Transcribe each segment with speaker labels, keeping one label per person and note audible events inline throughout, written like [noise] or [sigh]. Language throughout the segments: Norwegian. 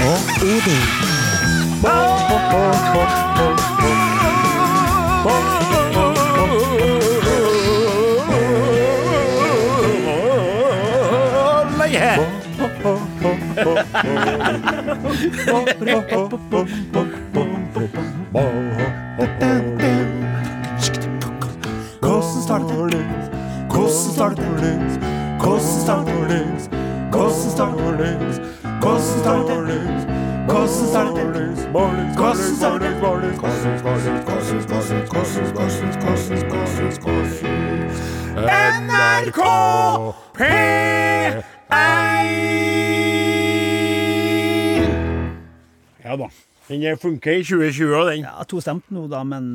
Speaker 1: Rudi.
Speaker 2: Hvordan starter det? Hvordan starter det? Hvordan starter det? Hvordan starter det? Hvordan starter det? Hvordan starter det? Hvordan starter det? NRK P1!
Speaker 3: Ja da. Den funker i 2020, og den.
Speaker 4: Ja, tostemt nå, da, men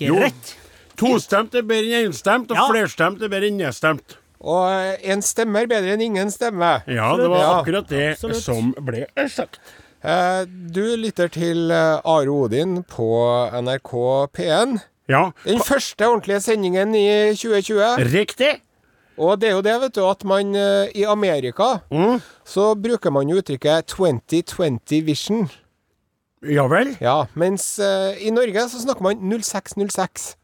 Speaker 3: Jo.
Speaker 4: greit.
Speaker 3: Tostemt er bedre enn enstemt, og
Speaker 4: Ja.
Speaker 3: flerstemt er bedre enn nedstemt.
Speaker 2: Og eh, en stemme er bedre enn ingen stemme.
Speaker 3: Ja, det var
Speaker 2: Ja.
Speaker 3: akkurat det som ble sagt.
Speaker 2: Eh, Du lytter til eh, Are Odin på NRK P1.
Speaker 3: Ja,
Speaker 2: Den første ordentlige sendingen i 2020.
Speaker 3: riktig.
Speaker 2: Og det er jo det, vet du, at man eh, i Amerika
Speaker 3: Mm.
Speaker 2: så bruker man jo uttrykket 2020 vision.
Speaker 3: Ja vel.
Speaker 2: Ja, mens eh, i Norge så snakker man 0606.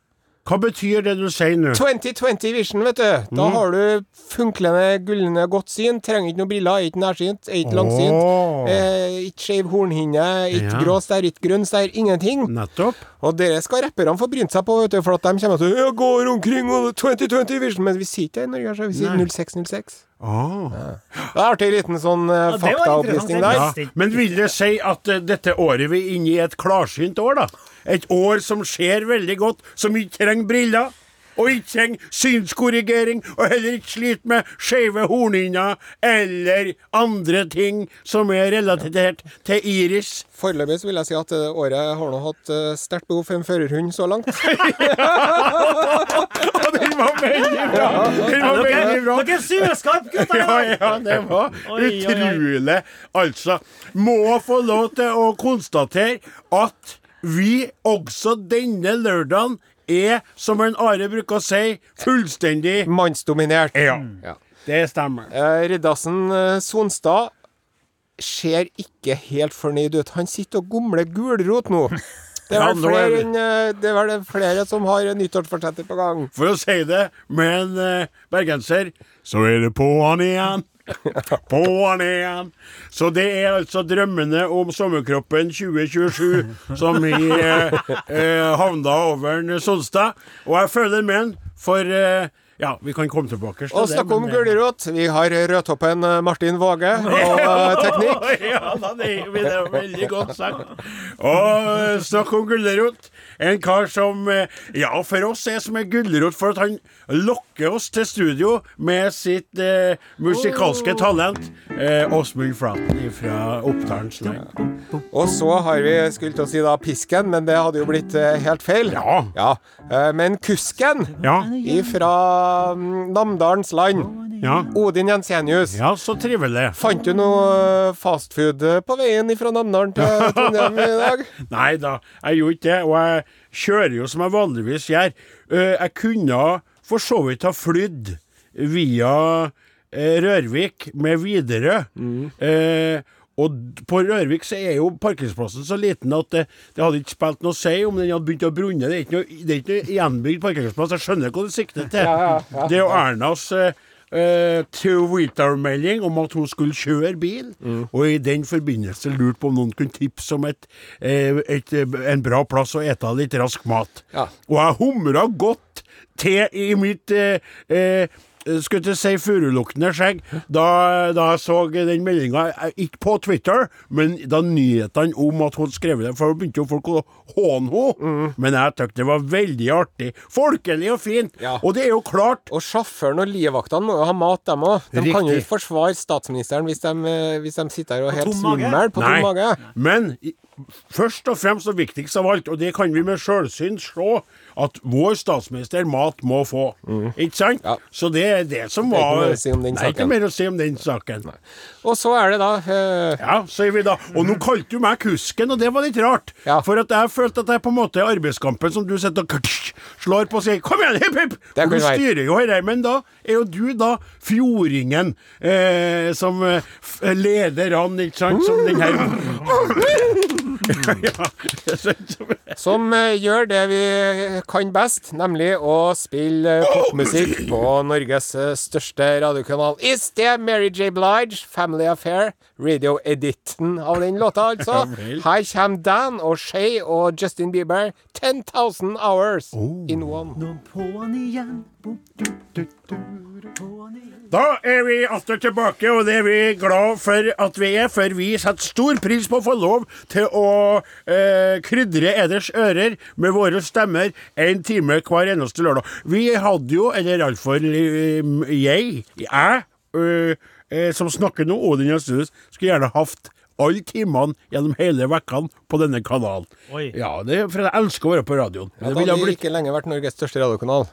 Speaker 3: Hva betyr det du sier nå?
Speaker 2: 2020 vision, vet du.
Speaker 3: Mm.
Speaker 2: Da har du funklende, gullende godt syn. Trenger ikke noen briller, er ikke nærsynt, er ikke langsynt.
Speaker 3: Åh,
Speaker 2: Eh, ikke skeiv hornhinne, ikke
Speaker 3: Ja.
Speaker 2: grå stær, ikke grønn stær, ingenting.
Speaker 3: Nettopp.
Speaker 2: Og det skal rapperne få brynt seg på, vet du, for at de kommer til å «Jeg går omkring og 2020 vision, men vi sier ikke det i Norge, så vi sier
Speaker 3: Nei.
Speaker 2: 0606.
Speaker 3: Ah.
Speaker 2: Det er artig liten sånn eh,
Speaker 4: det var
Speaker 2: faktaopplysning der.
Speaker 4: interessant.
Speaker 3: Ja. Men vil det si at eh, dette året vi er inne i, er et klarsynt år, da? Et år som ser veldig godt, som ikke trenger briller, og ikke trenger synskorrigering, og heller ikke sliter med skeive hornhinner eller andre ting som er relatert til iris. [laughs]
Speaker 2: Foreløpig så vil jeg si at eh, året har nå hatt eh, sterkt behov for en førerhund så langt.
Speaker 3: Og den var veldig bra! Den var veldig bra.
Speaker 4: Dere er sureskarpe, [laughs] gutter!
Speaker 3: Ja, ja, det var
Speaker 4: Oi, oi, oi.
Speaker 3: utrolig. Altså, må få lov til å konstatere at vi også denne lørdagen er, som en Are bruker å si, fullstendig
Speaker 2: Mannsdominert.
Speaker 3: Ja,
Speaker 2: Ja.
Speaker 3: det stemmer.
Speaker 2: Eh, Riddarsen eh, Sonstad ser ikke helt fornøyd ut. Han sitter og gomler gulrot
Speaker 3: [laughs]
Speaker 2: nå. Det er
Speaker 3: Ja,
Speaker 2: vel
Speaker 3: nå er
Speaker 2: flere,
Speaker 3: vi-
Speaker 2: enn, eh, det er vel flere som har nyttårsforsetter på gang.
Speaker 3: For å si det med en eh, bergenser, så er det på'n igjen. På'n igjen. Så det er altså drømmene om sommerkroppen 2027 som vi eh, eh, havna over en Sonstad. Og jeg føler med han, for eh, Ja, vi kan komme tilbake til
Speaker 2: Og snakke om
Speaker 3: men- eh,
Speaker 2: gulrot. Vi har rødtoppen eh, Martin Våge
Speaker 3: [laughs]
Speaker 2: og eh, teknikk.
Speaker 3: ja da, det er det er veldig godt sagt. Og eh, snakk om gulrot. En kar som eh, Ja, for oss er som en gulrot, for at han lokker oss til studio med sitt eh, musikalske talent. Eh, Åsmund Flaten fra Oppdalens Land.
Speaker 2: Og så har vi skulle til å si da pisken, men det hadde jo blitt eh, helt feil.
Speaker 3: Ja.
Speaker 2: Eh, Men kusken
Speaker 3: Ja,
Speaker 2: ifra mm, Namdalens land,
Speaker 3: ja.
Speaker 2: Odin Jensenius.
Speaker 3: Ja, så trivelig.
Speaker 2: Fant du noe eh, fastfood på veien fra Namdalen til eh, Trondheim i dag?
Speaker 3: Nei da, jeg gjorde ikke det. Og jeg kjører jo som jeg vanligvis gjør. Eh, Jeg kunne for så vidt ha flydd via eh, Rørvik med Widerøe. Eh, og d- på Rørvik så er jo parkeringsplassen så liten at det, det hadde ikke spilt noe å si om den hadde begynt å brunne. Det er ikke noe, det er ikke noe gjenbygd parkeringsplass. Jeg skjønner hva du sikter til. Det er jo Ernas eh, eh, Twitter-melding om at hun skulle kjøre bil,
Speaker 2: Mm.
Speaker 3: og i den forbindelse lurte på om noen kunne tipse om et, eh, et, eh, en bra plass å ete litt rask mat.
Speaker 2: Ja.
Speaker 3: Og jeg humra godt til i mitt eh, eh, skulle til å si furuluktende skjegg da, da jeg så den meldinga, ikke på Twitter, men da nyhetene om at hun skrev det, for da begynte jo folk å håne
Speaker 2: Mm.
Speaker 3: henne. Men jeg syntes det var veldig artig. Folkelig og fint.
Speaker 2: Ja.
Speaker 3: Og det er jo klart
Speaker 2: Og sjåføren og livvaktene må jo ha mat, dem òg. De kan jo
Speaker 3: Riktig.
Speaker 2: ikke forsvare statsministeren hvis de, eh, hvis de sitter her og er helt
Speaker 4: tom mage?
Speaker 2: svimmel på tom mage.
Speaker 3: Men i- først og fremst og viktigst av alt, og det kan vi med sjølsyn slå, at vår statsminister mat må få. Ikke sant?
Speaker 2: Mm. Ja.
Speaker 3: Så det er det som
Speaker 2: Det er ikke
Speaker 3: var
Speaker 2: mer å si om den
Speaker 3: Nei,
Speaker 2: saken.
Speaker 3: ikke mer å si om den saken.
Speaker 2: Og så er det da eh,
Speaker 3: Ja, sier vi da. Og nå kalte du meg kusken, og det var litt rart.
Speaker 2: Ja.
Speaker 3: For at jeg følte at jeg på en måte er arbeidskampen som du sitter og slår på og sier 'kom igjen, hipp, hipp'.
Speaker 2: Det
Speaker 3: Og Du
Speaker 2: kan være.
Speaker 3: styrer jo dette, men da er jo du da fjordingen eh, som eh, f- leder an, ikke sant, som den her
Speaker 2: [laughs]
Speaker 3: [laughs] ja, sånn som-
Speaker 2: Som eh, gjør det vi kan best, nemlig å spille eh, popmusikk på Norges eh, største radiokanal. I sted Mary J. Blige, 'Family Affair', radioediten av den låta, altså.
Speaker 3: vel.
Speaker 2: Her kommer Dan og Shay og Justin Bieber, 10,000 hours in one.
Speaker 5: Nå på'n igjen. Bom, du, du, du, du, på'n igjen.
Speaker 3: Da er vi atter tilbake, og det er vi glad for at vi er, for vi setter stor pris på å få lov til å eh, krydre eders ører med våre stemmer en time hver eneste lørdag. Vi hadde jo, eller iallfall eh, jeg, jeg ø, eh, som snakker nå, Odin Jøsthus, skulle gjerne hatt alle timene gjennom hele vekkene på denne kanalen.
Speaker 5: Oi.
Speaker 3: Ja, det, er- for jeg elsker å være på radioen.
Speaker 2: Det
Speaker 3: Det ville
Speaker 2: hadde
Speaker 3: ha blitt-
Speaker 2: ikke lenge vært Norges største radiokanal.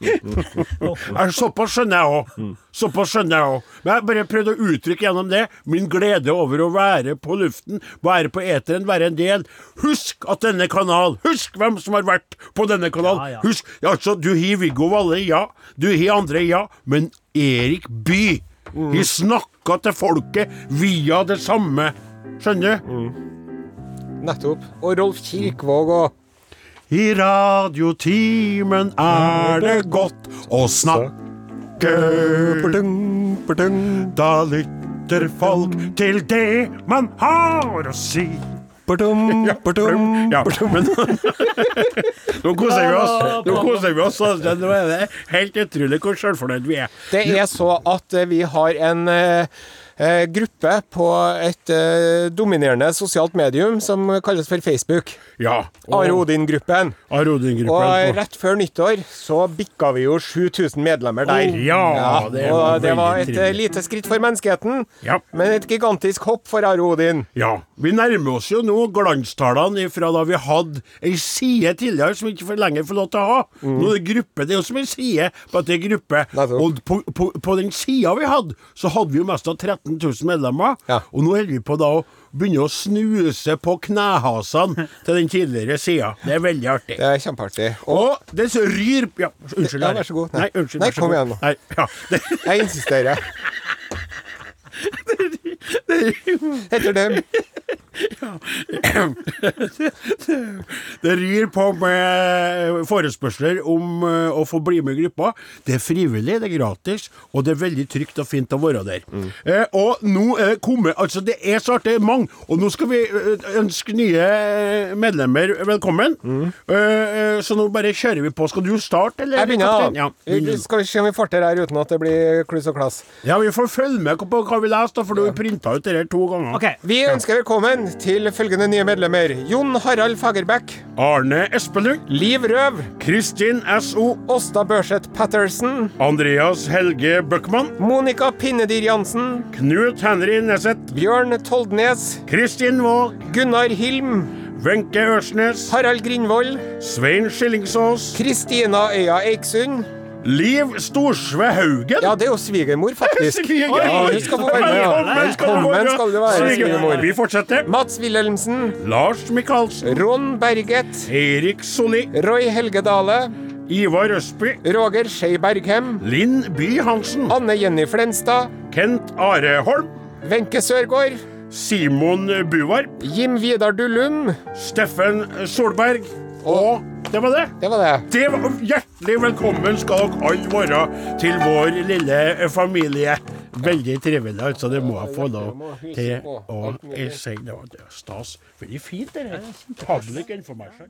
Speaker 3: Ja, Såpass skjønner jeg òg. Såpass skjønner jeg òg. Men jeg bare prøvde å uttrykke gjennom det min glede over å være på luften, være på eteren, være en del. Husk at denne kanal Husk hvem som har vært på denne kanal.
Speaker 5: Ja, ja.
Speaker 3: Husk altså, Du har Viggo Valle, ja. Du har andre, ja. Men Erik By har snakka til folket via det samme. Skjønner du?
Speaker 2: Nettopp. Og Rolf Kirkvaag og
Speaker 3: I radiotimen er det godt å snakke. Da lytter folk til det man har å si.
Speaker 2: Ja,
Speaker 3: Ja, men [laughs] Nå koser vi oss. Nå koser vi oss. altså. Nå er det helt utrolig hvor sjølfornøyd vi er.
Speaker 2: Det er så at eh, vi har en eh, eh, gruppe på et eh, dominerende sosialt medium som kalles for Facebook.
Speaker 3: Ja.
Speaker 2: Are Odin-gruppen.
Speaker 3: Are
Speaker 2: Og eh,
Speaker 3: Odin-gruppen.
Speaker 2: rett før nyttår så bikka vi jo 7000 medlemmer der.
Speaker 3: Å, ja, det var
Speaker 2: og det var
Speaker 3: veldig
Speaker 2: et eh,
Speaker 3: trivelig.
Speaker 2: lite skritt for menneskeheten,
Speaker 3: Ja.
Speaker 2: men et gigantisk hopp for Are Odin.
Speaker 3: Ja. Vi nærmer oss jo nå glanstallene fra da vi hadde ei side tidligere som vi ikke for lenger får lov til å ha. Nå er det gruppe. Det er jo som ei side, bare at det er gruppe.
Speaker 2: Mm. Nettopp.
Speaker 3: Og på, på, på den sida vi hadde, så hadde vi jo mest av 13 000 medlemmer.
Speaker 2: Ja.
Speaker 3: Og nå holder vi på da å begynne å snuse på
Speaker 2: [laughs]
Speaker 3: knehasene til den tidligere sida. Det er veldig artig.
Speaker 2: Det er kjempeartig. Og
Speaker 3: Og det som ryr Ja, unnskyld.
Speaker 2: Ja,
Speaker 3: Are.
Speaker 2: vær så god. Nei.
Speaker 3: Nei, unnskyld,
Speaker 2: Nei,
Speaker 3: vær så
Speaker 2: kom
Speaker 3: god.
Speaker 2: igjen nå.
Speaker 3: Nei, ja. det,
Speaker 2: [laughs]
Speaker 3: [laughs]
Speaker 2: jeg insisterer. Heter dem.
Speaker 3: Det ryr på med forespørsler om eh, å få bli med i gruppa. Det er frivillig, det er gratis, og det er veldig trygt og fint å være der. Eh, og nå er det kommet Altså, det er så artig, det er mange, og nå skal vi eh, ønske nye eh, medlemmer velkommen. Eh, eh, så nå bare kjører vi på. Skal du starte, eller?
Speaker 2: Jeg begynner.
Speaker 3: kaptein?
Speaker 2: da.
Speaker 3: Ja, begynner du.
Speaker 2: Skal vi se om vi får til det her uten at det blir kluss og klass.
Speaker 3: ja, vi får følge med på hva vi leser, da, for du har printa ut det her to ganger.
Speaker 5: OK.
Speaker 2: Vi ønsker velkommen til følgende nye medlemmer. Jon Harald Fagerbæk.
Speaker 3: Arne Espelund,
Speaker 2: Liv Røv.
Speaker 3: Kristin SO,
Speaker 2: Åsta Børseth Patterson.
Speaker 3: Andreas Helge Bøckmann,
Speaker 2: Monica Pinnedyr Jansen.
Speaker 3: Knut Henry Neseth
Speaker 2: Bjørn Toldnes.
Speaker 3: Kristin Våg,
Speaker 2: Gunnar Hilm.
Speaker 3: Wenche Ørsnes,
Speaker 2: Harald Grindvoll.
Speaker 3: Svein Skillingsås,
Speaker 2: Kristina Øya Eiksund.
Speaker 3: Liv Storsve Haugen.
Speaker 2: Ja, det er jo svigermor, faktisk.
Speaker 3: [laughs] Sviger-
Speaker 2: Ja, hun skal få være med. Ja.
Speaker 3: Velkommen skal du være.
Speaker 2: Velkommen skal du være,
Speaker 3: Sviger-
Speaker 2: svigermor.
Speaker 3: Vi fortsetter.
Speaker 2: Mats Wilhelmsen.
Speaker 3: Lars Michaelsen,
Speaker 2: Ron Berget.
Speaker 3: Erik Solli,
Speaker 2: Roy Helge Dale.
Speaker 3: Ivar Østby,
Speaker 2: Roger Skei Berghem.
Speaker 3: Linn By Hansen,
Speaker 2: Anne Jenny Flenstad.
Speaker 3: Kent Are Holm,
Speaker 2: Wenche Sørgaard.
Speaker 3: Simon Buvarp,
Speaker 2: Jim Vidar Dullum.
Speaker 3: Steffen Solberg og Det var det.
Speaker 2: Det var det.
Speaker 3: Det var Hjertelig velkommen skal dere alle være til vår lille familie. Veldig trivelig, altså. Det må jeg få lov til å si. Det var- det er stas. Veldig fint, det her. Public information.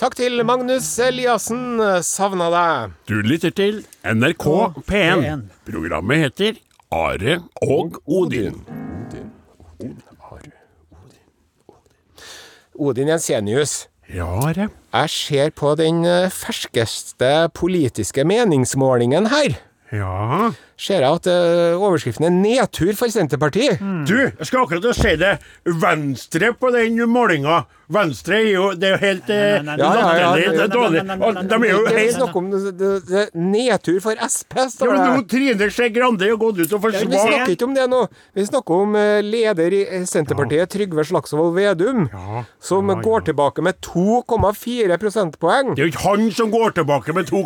Speaker 2: Takk til Magnus Eliassen. Savna deg.
Speaker 3: Du lytter til NRK P1.
Speaker 5: P1.
Speaker 3: Programmet heter Are og Odin.
Speaker 2: Odin Jensenius.
Speaker 3: Ja, Are.
Speaker 2: Jeg ser på den eh, ferskeste politiske meningsmålingen her,
Speaker 3: Ja.
Speaker 2: ser jeg at eh, overskriften er 'Nedtur for Senterpartiet'.
Speaker 3: Du, jeg skal akkurat å si det. Venstre på den målinga. Venstre er jo Det er jo helt eh,
Speaker 5: Nei, nei, nei,
Speaker 2: Ja, ja, ja,
Speaker 3: latterlig. Det er dårlig. Og De er jo
Speaker 2: Det er
Speaker 3: helt
Speaker 2: snakk om det, det, det, nedtur for Sp,
Speaker 3: Ja,
Speaker 2: står
Speaker 3: men
Speaker 2: det.
Speaker 3: nå Trine Skei Grande har gått ut og
Speaker 2: Ja, Vi
Speaker 3: forsvart
Speaker 2: snakker ikke om det nå. Vi snakker om eh, leder i eh, Senterpartiet, Trygve Slagsvold Vedum, som går tilbake med 2,4 prosentpoeng.
Speaker 3: Det er jo ikke han som går tilbake med 2,4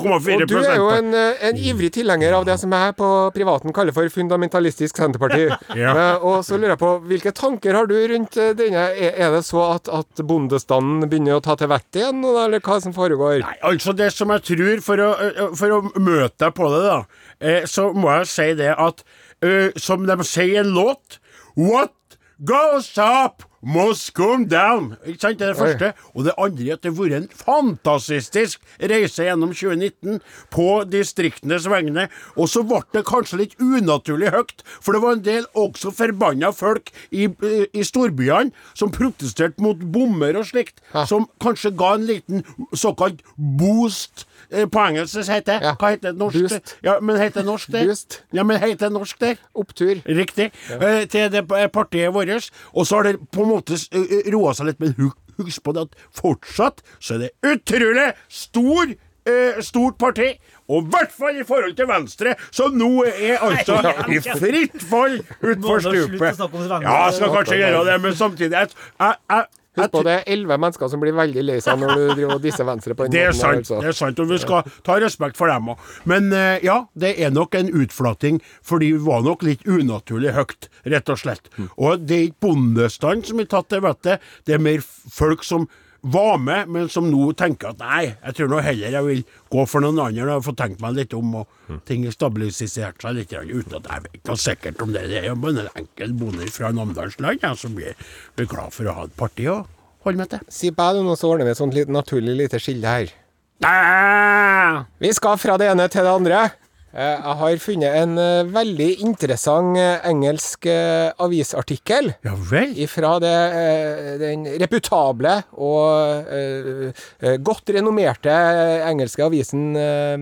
Speaker 2: Og du er jo en, eh, en ivrig tilhenger av det som jeg på privaten kaller for fundamentalistisk Senterparti. [laughs]
Speaker 3: Ja.
Speaker 2: Eh, Og så lurer jeg på, hvilke tanker har du rundt eh, denne? Er er det så at, at bondestanden begynner å ta til vettet igjen, nå, da, eller hva som foregår?
Speaker 3: Nei, altså det som jeg tror, for å, ø- ø- for å møte deg på det, da, eh, så må jeg si det at ø, Som de sier i en låt What goes up must come down. Ikke sant? Det er det første. Og det andre er at det har vært en fantastisk reise gjennom 2019 på distriktenes vegne. Og så ble det kanskje litt unaturlig høyt, for det var en del også forbanna folk i, ø, i storbyene som protesterte mot bommer og slikt, som kanskje ga en liten såkalt boost. eh, På engelsk så heter det.
Speaker 2: Ja.
Speaker 3: Hva heter det norsk?
Speaker 2: Boost.
Speaker 3: Ja, men heter det norsk der?
Speaker 2: Boost.
Speaker 3: Ja, men heter det norsk der?
Speaker 2: Opptur.
Speaker 3: Riktig. Eh, til det eh, partiet vårt. Og så har det på en måte eh, eh, roa seg litt, men hu- husk på det at fortsatt så er det utrolig stor eh, stort parti, og i hvert fall i forhold til Venstre, som nå er altså i fritt fall utfor
Speaker 5: Må da slutte å
Speaker 3: stupet.
Speaker 5: snakke om Venstre.
Speaker 3: Ja, jeg skal kanskje gjøre det, men samtidig jeg, jeg, jeg,
Speaker 2: Husk på,
Speaker 3: jeg,
Speaker 2: det er elleve mennesker som blir veldig lei seg når
Speaker 3: [laughs]
Speaker 2: du driver og disser Venstre på den
Speaker 3: det er
Speaker 2: måten. der,
Speaker 3: sant,
Speaker 2: altså.
Speaker 3: det er sant, og vi skal ta respekt for dem òg. Men eh, ja, det er nok en utflating, for de var nok litt unaturlig høyt, rett og slett. Og det er ikke bondestand som er tatt til vettet, det er mer f- folk som var med, men som nå tenker at nei, jeg tror nå heller jeg vil gå for noen andre og få tenkt meg litt om, og ting har stabilisert seg litt, grann, uten at jeg vet noe sikkert om det. Det er jo bare en enkel bonde fra Namdalsland jeg, som blir, blir glad for å ha et parti å holde med til.
Speaker 2: Si bæ du nå, så ordner vi et sånt litt naturlig lite skille her.
Speaker 3: Da!
Speaker 2: Vi skal fra det ene til det andre. Eh, Jeg har funnet en eh, veldig interessant eh, engelsk eh, avisartikkel
Speaker 3: Ja vel?
Speaker 2: fra eh, den reputable og eh, eh, godt renommerte engelske avisen eh,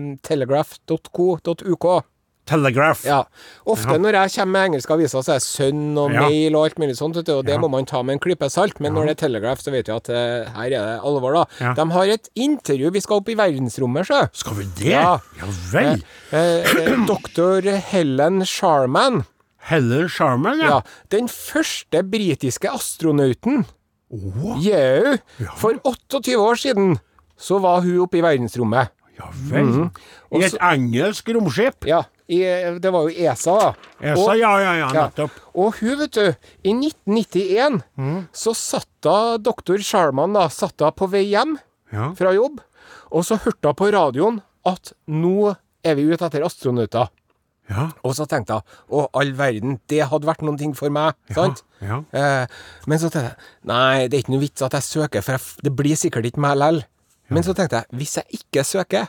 Speaker 2: telegraph.co.uk.
Speaker 3: Telegraph.
Speaker 2: Ja. Ofte når jeg kommer med engelske aviser, så er det sønn og
Speaker 3: Ja.
Speaker 2: mail og alt mulig sånt, vet du, og det må man ta med en klype salt. Men når det er Telegraph, så vet vi at eh, her er det alvor, da.
Speaker 3: Ja.
Speaker 2: De har et intervju. Vi skal opp i verdensrommet, sjø.
Speaker 3: Skal vi det?
Speaker 2: Ja.
Speaker 3: Ja, vel.
Speaker 2: Doktor Helen Sharman.
Speaker 3: Helen Sharman, ja.
Speaker 2: Ja, den første britiske astronauten,
Speaker 3: Å,
Speaker 2: Yeu, for 28 år siden, så var hun oppe i verdensrommet.
Speaker 3: ja vel.
Speaker 2: Mhm.
Speaker 3: I et engelsk romskip?
Speaker 2: Ja, i, det var jo ESA, da.
Speaker 3: ESA, E ja, ja, ja,
Speaker 2: Ja.
Speaker 3: nettopp. Mm.
Speaker 2: Og hun, vet du, i 1991 så satt da doktor Sharman da, satt da på vei hjem
Speaker 3: Ja.
Speaker 2: fra jobb, og så hørte hun på radioen at nå er vi ute etter astronauter.
Speaker 3: Ja.
Speaker 2: Og så tenkte jeg å, all verden, det hadde vært noen ting for meg. sant?
Speaker 3: ja.
Speaker 2: Eh, men så tenkte jeg nei, det er ikke noe vits at jeg søker, for jeg, f- det blir sikkert ikke meg lell. Men så tenkte jeg hvis jeg ikke søker,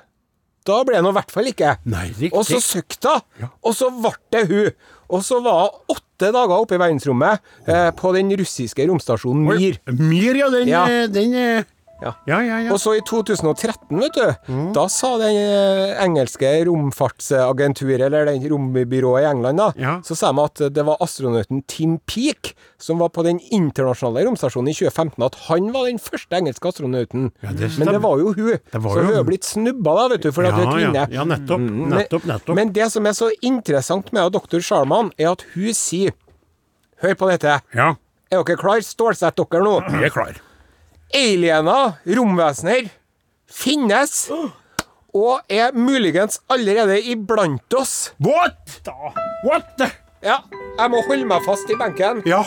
Speaker 2: da blir jeg nå i hvert fall ikke.
Speaker 3: Nei, riktig.
Speaker 2: Og så søkte hun, og så ble det hun. Og så var hun åtte dager oppe i verdensrommet eh, på den russiske romstasjonen Mir.
Speaker 3: Mir, ja. Den,
Speaker 2: Ja.
Speaker 3: eh, den eh,
Speaker 2: Ja.
Speaker 3: ja, ja, Mm. ja.
Speaker 2: Og så i 2013, vet du, da sa den eh, engelske romfartsagenturet, eller den rombyrået i England, da,
Speaker 3: Ja.
Speaker 2: så sa de at det var astronauten Tim Peake som var på den internasjonale romstasjonen i 2015, at han var den første engelske astronauten.
Speaker 3: Ja, det
Speaker 2: men det
Speaker 3: stemmer.
Speaker 2: var jo hun.
Speaker 3: var jo
Speaker 2: så hun
Speaker 3: hun.
Speaker 2: er blitt snubba, da, vet du, fordi at hun er
Speaker 3: ja,
Speaker 2: kvinne.
Speaker 3: ja. ja, nettopp.
Speaker 2: Mm, men-
Speaker 3: Nettopp, nettopp.
Speaker 2: Men det som er så interessant med doktor Sharman, er at hun sier Hør på dette.
Speaker 3: ja,
Speaker 2: Er dere klare? Stålsett dere nå.
Speaker 3: vi er klar.
Speaker 2: Aliener, romvesener, finnes og er muligens allerede iblant oss.
Speaker 3: What? What the?
Speaker 2: Ja, jeg må holde meg fast i benken.
Speaker 3: Ja.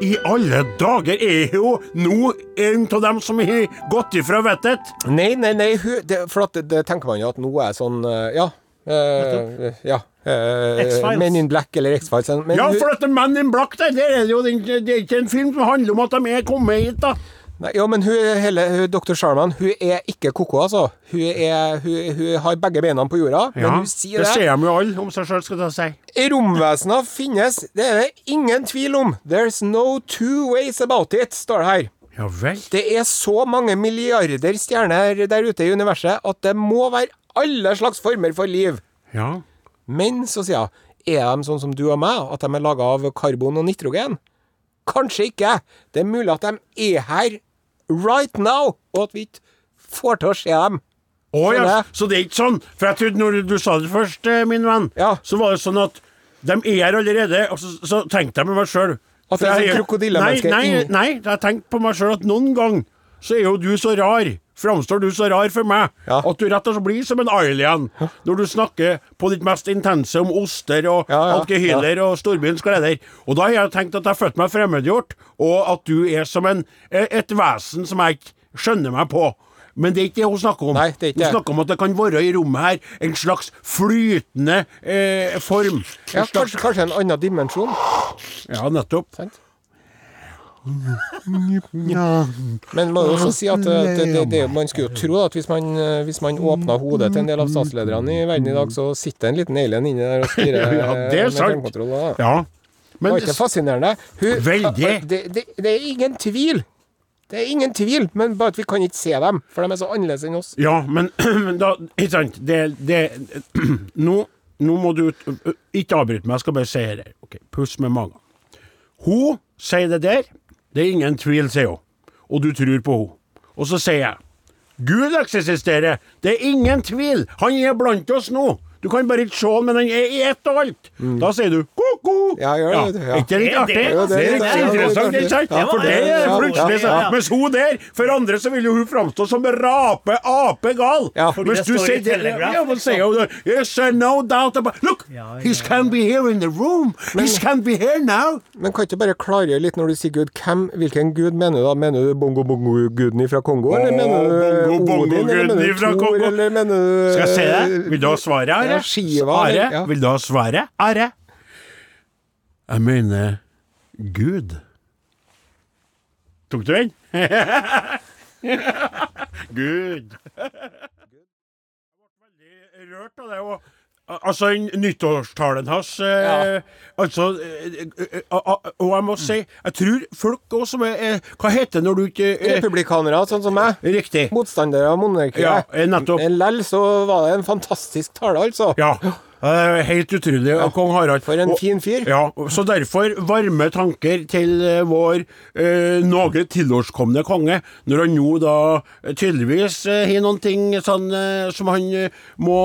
Speaker 3: I alle dager er jo nå en av dem som har gått ifra vettet.
Speaker 2: Nei, nei, nei, hu- det, for at det, det tenker man jo at nå er sånn eh, Ja. eh, ja. eh,
Speaker 5: X-Files.
Speaker 2: Men in black eller X-Files. Men
Speaker 3: Ja,
Speaker 2: hu-
Speaker 3: for dette Men in Black der, der er det jo den, det er ikke en film som handler om at de er kommet hit, da.
Speaker 2: Nei, ja, men hun, hele, hun, Dr. Sharman hun er ikke ko-ko, altså. Hun, er, hun, hun har begge beina på jorda, men hun sier
Speaker 3: det
Speaker 2: det.
Speaker 3: ser de jo alle om seg sjøl, skal jeg si.
Speaker 2: Romvesener finnes, det er det ingen tvil om. There's no two ways about it, står det her.
Speaker 3: Ja vel.
Speaker 2: Det er så mange milliarder stjerner der ute i universet at det må være alle slags former for liv.
Speaker 3: Ja.
Speaker 2: Men så sier jeg, er de sånn som du og meg, at de er laga av karbon og nitrogen? Kanskje ikke. Det er mulig at de er her right now, og at vi ikke får til å se dem.
Speaker 3: Å ja,
Speaker 2: Skjønner jeg.
Speaker 3: så det er ikke sånn. For jeg trodde når du, du sa det først, eh, min venn,
Speaker 2: Ja.
Speaker 3: så var det sånn at de er her allerede, og så, så tenkte jeg med meg sjøl
Speaker 2: At det er sånn krokodillemenneske
Speaker 3: Nei, nei,
Speaker 2: inn-
Speaker 3: nei, jeg tenkte på meg sjøl at noen gang så er jo du så rar. Framstår du så rar for meg
Speaker 2: Ja.
Speaker 3: at du rett og slett blir som en alien når du snakker på ditt mest intense om oster og
Speaker 2: Ja, ja,
Speaker 3: alkehyler og storbyens gleder. Og da har jeg tenkt at jeg følte meg fremmedgjort, og at du er som en, eh, et vesen som jeg ikke skjønner meg på. Men det er ikke det hun snakker om.
Speaker 2: Nei, det er ikke
Speaker 3: Hun
Speaker 2: det.
Speaker 3: snakker om at det kan være i rommet her en slags flytende eh, form.
Speaker 2: Ja, kanskje, kanskje en annen dimensjon.
Speaker 3: Ja, nettopp.
Speaker 2: Sant? Men man må jo også si at eh, det, det, det, man skulle jo tro at hvis man, eh, hvis man åpna hodet til en del av statslederne i verden i dag, så sitter en liten alien inni der og styrer
Speaker 3: [laughs] Ja, det
Speaker 2: eh,
Speaker 3: er
Speaker 2: med
Speaker 3: sant.
Speaker 2: fjernkontroll, da.
Speaker 3: Ja.
Speaker 2: Det
Speaker 3: Men
Speaker 2: var ikke fascinerende. Hun,
Speaker 3: Veldig.
Speaker 2: Det, det, det er ingen tvil. Det er ingen tvil, men bare at vi kan ikke se dem, for de er så annerledes enn oss.
Speaker 3: Ja, men [clears throat] men da Ikke sant. Det, det [clears throat] nå, nå må du Ikke avbryte meg, jeg skal bare si det. her. Ok, Puss med magen. Hun sier det der. Det er ingen tvil, sier hun. Og du tror på henne. Og så sier jeg Gud eksisterer. Det er ingen tvil. Han er blant oss nå. Du kan bare ikke se han, men han er i ett og alt. Da sier du ko-ko.
Speaker 2: Mm. Ja, gjør det, ja.
Speaker 3: Er ikke det litt
Speaker 6: Er det-
Speaker 3: artig?
Speaker 6: Jo,
Speaker 2: det er
Speaker 3: Det er
Speaker 2: litt
Speaker 3: litt
Speaker 2: artig.
Speaker 3: interessant, ikke sant?
Speaker 2: Ja,
Speaker 3: For det
Speaker 2: ja,
Speaker 3: er
Speaker 2: ja,
Speaker 3: plutselig
Speaker 2: ja, ja.
Speaker 3: Mens hun der, for andre så vil jo hun framstå som rape, apegal.
Speaker 2: Ja.
Speaker 6: Fordi
Speaker 3: Mens
Speaker 6: det
Speaker 3: du
Speaker 6: står i
Speaker 3: sier det,
Speaker 6: Telegraph,
Speaker 3: ja, men sier hun det, Yes, sir, no doubt about Look,
Speaker 6: Ja, ja,
Speaker 3: he can be here in the room. He can be here now.
Speaker 2: Men kan ikke du bare klargjøre litt når du sier Gud, hvem, hvilken gud mener du da? Mener du bongo-bongo-guden fra Kongo, eller
Speaker 3: Åh,
Speaker 2: mener du Odin,
Speaker 3: bongo-bongo-guden
Speaker 2: eller mener du
Speaker 3: ifra
Speaker 2: Thor,
Speaker 3: Kongo.
Speaker 2: eller mener du
Speaker 3: Skal jeg se det? Vil du ha svaret, Are?
Speaker 2: Ja, skiva,
Speaker 3: Are,
Speaker 2: ja.
Speaker 3: vil du ha svaret? Are? Jeg mener Gud. Tok du den? Gud. Rørt av det, og Altså, nyttårstalen hans eh,
Speaker 2: Ja.
Speaker 3: Altså eh, eh, eh, Og jeg må si, jeg tror folk også som er eh, Hva heter det når du ikke eh,
Speaker 2: Republikanere, sånn som meg.
Speaker 3: Riktig.
Speaker 2: Motstandere av
Speaker 3: Ja,
Speaker 2: monarkiet.
Speaker 3: eh, nettopp.
Speaker 2: Men Lell så var det en fantastisk tale, altså.
Speaker 3: Ja. eh, Helt utrolig av kong Harald.
Speaker 2: For en
Speaker 3: Og-
Speaker 2: fin fyr.
Speaker 3: Ja, så derfor varme tanker til eh, vår eh, noe tilårskomne konge, når han nå da eh, tydeligvis eh, har noen ting sånn, eh, som han eh, må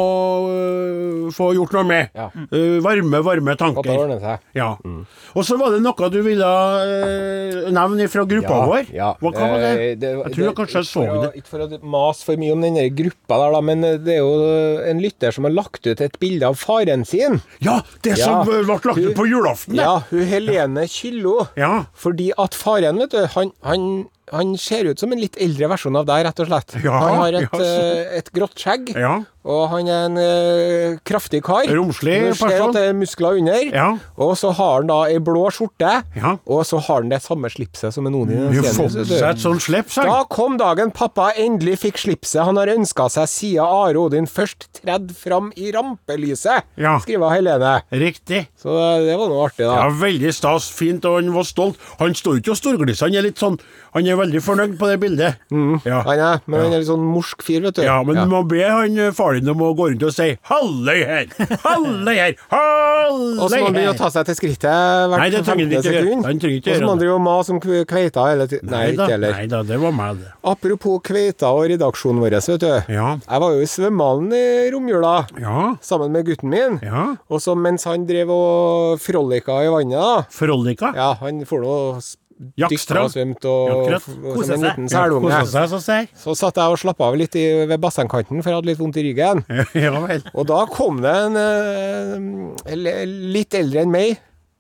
Speaker 3: eh, få gjort noe med.
Speaker 2: Ja.
Speaker 3: Eh, varme, varme
Speaker 2: Måtte ha
Speaker 3: tanker.
Speaker 2: ordnet seg.
Speaker 3: Ja.
Speaker 2: Mm.
Speaker 3: Og så var det noe du ville eh, nevne fra gruppa vår. Hva, hva var det?
Speaker 2: Eh,
Speaker 3: jeg tror jeg kanskje jeg så
Speaker 2: ikke for å-
Speaker 3: det.
Speaker 2: Ikke for å mase for mye om den der gruppa der, da, men eh, det er jo en lytter som har lagt ut et bilde av faren sin.
Speaker 3: Ja, det
Speaker 2: Ja.
Speaker 3: som eh, ble lagt ut på julaften! det.
Speaker 2: Ja, hun Helene Kyllo.
Speaker 3: Ja.
Speaker 2: Fordi at faren, vet du, han, han, han ser ut som en litt eldre versjon av deg, rett og slett.
Speaker 3: Ja,
Speaker 2: han har et,
Speaker 3: ja, så-
Speaker 2: eh, et grått skjegg,
Speaker 3: Ja.
Speaker 2: og han er en eh, kraftig kar.
Speaker 3: Romslig
Speaker 2: Du ser
Speaker 3: person.
Speaker 2: at det er muskler under.
Speaker 3: Ja.
Speaker 2: Og så har han da ei blå skjorte,
Speaker 3: Ja.
Speaker 2: og så har han det samme slipset som en Odin. i
Speaker 3: Vi har
Speaker 2: scenen,
Speaker 3: fått
Speaker 2: vet du.
Speaker 3: seg et sånt slips, han.
Speaker 2: Da kom dagen pappa endelig fikk slipset han har ønska seg siden Are Odin først tredd fram i rampelyset,
Speaker 3: Ja.
Speaker 2: skriver Helene.
Speaker 3: Riktig.
Speaker 2: Så det var noe artig, da.
Speaker 3: Ja, veldig stas, fint, og han var stolt. Han står jo ikke og storgliser, han er litt sånn Han er veldig fornøyd på det bildet. Ja.
Speaker 2: Mm. Han er, men han er litt sånn morsk fyr, vet du.
Speaker 3: ja, men du må be han eh, far din om å gå rundt og si 'halløy her', 'halløy her', 'halløy her'.
Speaker 2: [laughs] Og så må han begynne å ta seg til skrittet hvert
Speaker 3: Nei, det trenger han
Speaker 2: 15.
Speaker 3: ikke gjøre.
Speaker 2: sekund.
Speaker 3: Han trenger ikke
Speaker 2: Og så
Speaker 3: gjøre
Speaker 2: må han
Speaker 3: det.
Speaker 2: drive og mase om kve- kveita hele tiden. Nei,
Speaker 3: Nei da,
Speaker 2: ikke heller.
Speaker 3: nei da, det var meg, det.
Speaker 2: Apropos kveita og redaksjonen vår, vet du.
Speaker 3: Ja.
Speaker 2: Jeg var jo i svømmehallen i romjula
Speaker 3: Ja.
Speaker 2: sammen med gutten min.
Speaker 3: Ja.
Speaker 2: Og så mens han drev og frolika i vannet, da.
Speaker 3: Frolika.
Speaker 2: Ja, han får nå s- dykka
Speaker 3: Jaktstrand.
Speaker 2: og svømt og
Speaker 3: Jaktkratt.
Speaker 2: f-
Speaker 6: Kose
Speaker 2: som
Speaker 6: seg.
Speaker 2: en liten
Speaker 3: Ja, koser
Speaker 2: selunge.
Speaker 3: seg, så sier jeg.
Speaker 2: Så satt jeg og slappa av litt i, ved bassengkanten, for jeg hadde litt vondt i ryggen.
Speaker 3: [laughs] Ja vel.
Speaker 2: Og da kom det en eh, l- litt eldre enn meg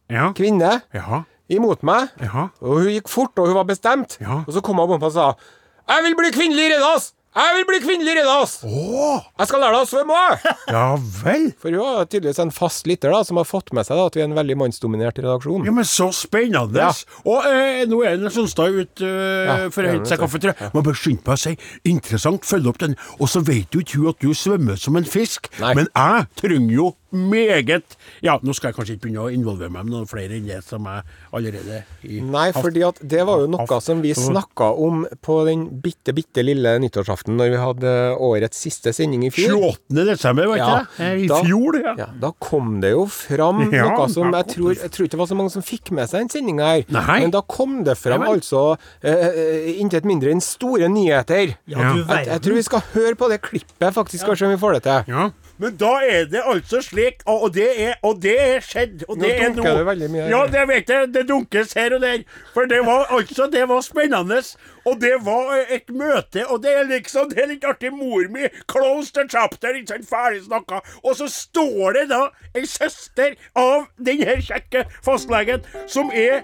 Speaker 3: Ja.
Speaker 2: kvinne
Speaker 3: Ja.
Speaker 2: imot meg.
Speaker 3: Ja.
Speaker 2: Og hun gikk fort, og hun var bestemt.
Speaker 3: Ja.
Speaker 2: Og så kom hun opp og sa Jeg vil bli kvinnelig reddas! Jeg vil bli kvinnelig reddas!
Speaker 3: Å!
Speaker 2: Jeg skal lære deg å svømme òg!
Speaker 3: Ja vel.
Speaker 2: For hun er tydeligvis en fast lytter da, som har fått med seg da, at vi er en veldig mannsdominert redaksjon.
Speaker 3: Ja, men så spennende!
Speaker 2: Ja.
Speaker 3: Og eh, nå er det Sonstad ute eh,
Speaker 2: Ja,
Speaker 3: for å hente seg kaffe, tror jeg. Man bør skynde på å si 'interessant, følg opp den', og så vet jo ikke hun at du svømmer som en fisk.
Speaker 2: Nei.
Speaker 3: Men jeg trenger jo meget Ja, nå skal jeg kanskje ikke begynne å involvere meg med noen flere enn det som jeg allerede i,
Speaker 2: Nei, fordi at det var jo noe
Speaker 3: haft-
Speaker 2: som vi snakka om på den bitte, bitte lille nyttårsaften når vi hadde eh, årets siste sending i fjor.
Speaker 3: 28. desember, var ikke
Speaker 2: Ja,
Speaker 3: det? Eh, I
Speaker 2: da-
Speaker 3: fjor, ja.
Speaker 2: Ja, da kom det jo fram
Speaker 3: [laughs] Ja,
Speaker 2: noe som
Speaker 3: da
Speaker 2: jeg
Speaker 3: kom
Speaker 2: tror, jeg tror ikke det var så mange som fikk med seg den sendinga her.
Speaker 3: Nei.
Speaker 2: Men da kom det fram
Speaker 3: Nei vel.
Speaker 2: altså eh, eh, intet mindre enn store nyheter.
Speaker 3: Ja.
Speaker 4: Ja, du
Speaker 2: Jeg, jeg tror
Speaker 4: verden.
Speaker 2: vi skal høre på det klippet, faktisk, skal se om vi får det til.
Speaker 3: Ja. Men da er det altså slik, og og det er, og det er skjedd. Og det er
Speaker 2: dunker
Speaker 3: nå.
Speaker 2: det veldig mye her.
Speaker 3: Ja, det vet jeg. Det dunkes her og der. For det var altså det var spennende. Og det var eh, et møte, og det er liksom Det er litt artig. Mor mi close the chapter, ikke sant, ferdig snakka. Og så står det da ei søster av den her kjekke fastlegen som er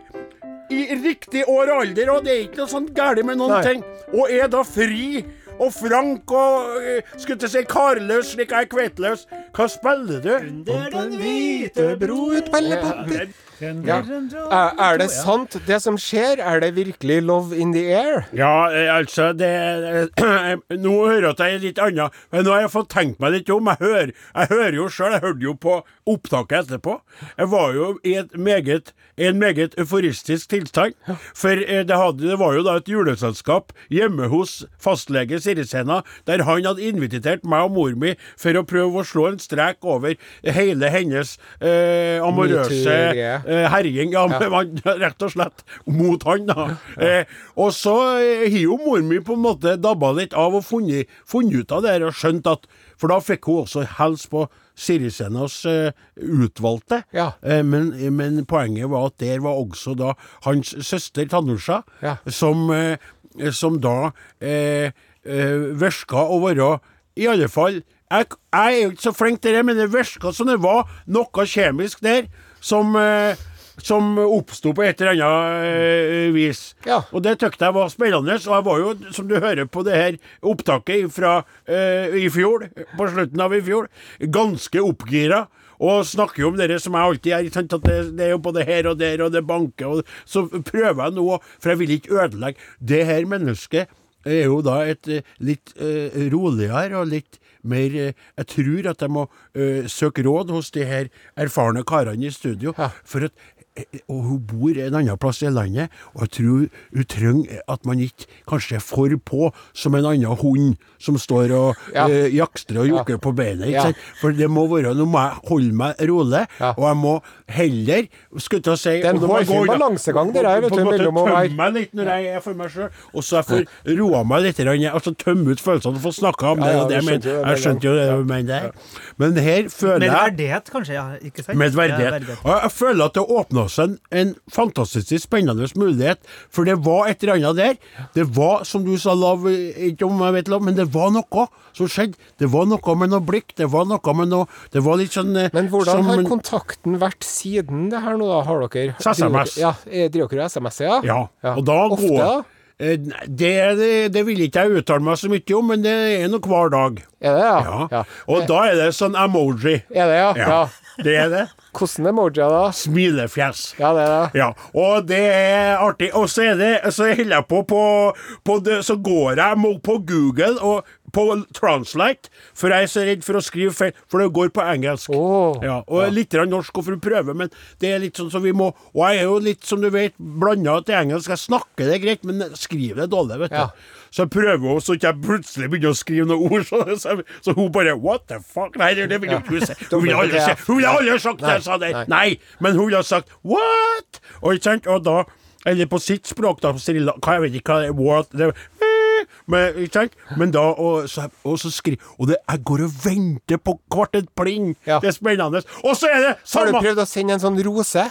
Speaker 3: i riktig år og alder, og det er ikke noe sånt gærent med noen
Speaker 2: Nei.
Speaker 3: ting. Og er da fri og frank og eh, skulle til å si karløs, slik jeg er kveitløs. Hva spiller du?
Speaker 4: Under den hvite bror
Speaker 2: Bellepapir.
Speaker 4: Under
Speaker 2: Ja.
Speaker 4: den dra-
Speaker 2: Er, er det sant, det som skjer? Er det virkelig love in the air?
Speaker 3: Ja, eh, altså det eh, Nå hører jeg at jeg er [clears throat] litt annet, men nå har jeg fått tenkt meg litt om. Jeg hører, jeg hører jo sjøl, jeg hørte jo på opptaket etterpå. Jeg var jo i et meget, en meget euforistisk tilstand. For eh, det, hadde, det var jo da et juleselskap hjemme hos fastlege Sirisena, der han hadde invitert meg og mor mi for å prøve å slå en strek over hele hennes eh, amorøse
Speaker 2: Metoo-greie.
Speaker 3: eh, herjing, ja, men man, [laughs] rett og slett mot han, da. Eh, og så eh, har jo mor mi på en måte dabba litt av og funnet, funnet ut av det her og skjønt at For da fikk hun også helse på Sirisenas eh, utvalgte.
Speaker 2: Ja.
Speaker 3: Eh, men, men poenget var at der var også da hans søster Tanusha,
Speaker 2: Ja.
Speaker 3: som, eh, som da eh, eh, virka å være I alle fall jeg, jeg er jo ikke så flink til det, men det virka som det var noe kjemisk der som, eh, som oppsto på et eller annet eh, vis.
Speaker 2: Ja.
Speaker 3: Og det tykte jeg var spennende, og jeg var jo, som du hører på det her opptaket fra eh, i fjor, på slutten av i fjor, ganske oppgira. Og snakker jo om det som jeg alltid er, ikke sant, at det, det er jo både her og der, og det banker, og så prøver jeg nå, for jeg vil ikke ødelegge. Det her mennesket er jo da et eh, litt eh, roligere og litt mer eh, Jeg tror at jeg må eh, søke råd hos de her erfarne karene i studio.
Speaker 2: Ja.
Speaker 3: For at eh, og hun bor en annen plass i landet, og jeg tror hun trenger eh, at man ikke kanskje er for på som en annen hund som står og
Speaker 2: Ja.
Speaker 3: eh, jakster og jokker på beinet. Ikke
Speaker 2: Ja.
Speaker 3: sant? For det må være Nå må jeg holde meg rolig,
Speaker 2: Ja.
Speaker 3: og jeg må heller Skulle til å si
Speaker 2: er en
Speaker 3: og nå må jeg
Speaker 2: hårfin
Speaker 3: gå unna-
Speaker 2: balansegang, det der, vet
Speaker 3: på en
Speaker 2: du,
Speaker 3: måte
Speaker 2: mellom å
Speaker 3: tømme
Speaker 2: være-
Speaker 3: meg litt når jeg er for meg sjøl, og så jeg får roa meg litt. grann, Altså tømme ut følelsene og få snakka om
Speaker 2: Ja,
Speaker 3: det.
Speaker 2: ja,
Speaker 3: og det
Speaker 2: vi
Speaker 3: jeg
Speaker 2: skjønte jo det
Speaker 3: mener. Jeg skjønte jo det
Speaker 2: med
Speaker 3: du mener der. Men her føler
Speaker 4: Med
Speaker 3: jeg
Speaker 4: verdighet, kanskje? Ja, ikke sant?
Speaker 3: med
Speaker 4: Ja,
Speaker 3: verdighet. Og jeg føler at det åpna seg en, en fantastisk spennende mulighet, for det var et eller annet der. Det var, som du sa, Lav, ikke om jeg vet Lav, men det var noe som skjedde. Det var noe med noe blikk, det var noe med noe Det var litt sånn eh,
Speaker 2: Men hvordan
Speaker 3: som
Speaker 2: har
Speaker 3: en-
Speaker 2: kontakten vært siden det her nå, da? Har dere
Speaker 3: Så SMS.
Speaker 2: Ja, eh, Driver dere SMS, ja?
Speaker 3: Ja, og da
Speaker 2: Ofte,
Speaker 3: går
Speaker 2: da?
Speaker 3: Eh, nei, Det, det, det vil ikke jeg uttale meg så mye om, men det er nå hver dag.
Speaker 2: Er det, ja?
Speaker 3: Ja.
Speaker 2: Ja.
Speaker 3: Og da er det sånn emoji.
Speaker 2: Er det, ja? ja.
Speaker 3: Det er det.
Speaker 2: Hvordan emojier, da?
Speaker 3: Smilefjes.
Speaker 2: Ja, det er det.
Speaker 3: Ja, og det er artig. Og så er det Så holder jeg på på, på det, Så går jeg må- på Google og på Translate, for jeg er så redd for å skrive feil, for det går på engelsk.
Speaker 2: Åh.
Speaker 3: ja, og litt grann norsk og for å prøve, men det er litt sånn som vi må Og jeg er jo litt, som du vet, blanda til engelsk. Jeg snakker det greit, men jeg skriver det dårlig, vet du.
Speaker 2: Ja.
Speaker 3: Så jeg prøver jo så ikke jeg plutselig begynner å skrive noen ord, [laughs] så, så, så hun bare What the fuck? Nei, det, det vil jo ikke
Speaker 2: [laughs]
Speaker 3: hun si. Hun ville aldri si Hun ville aldri sagt det jeg sa der!
Speaker 2: Nei.
Speaker 3: Nei, men hun har sagt what? Og, ikke sant? og da Eller på sitt språk, da. på Sri Lanka, jeg vet ikke hva det er. What? Det, eh, men, ikke sant? men da Og så, og så skri, Og det, jeg går og venter på hvert et pling!
Speaker 2: Ja.
Speaker 3: Det er spennende. Og så er det
Speaker 2: Har du
Speaker 3: samme
Speaker 2: prøvd å sende en sånn rose?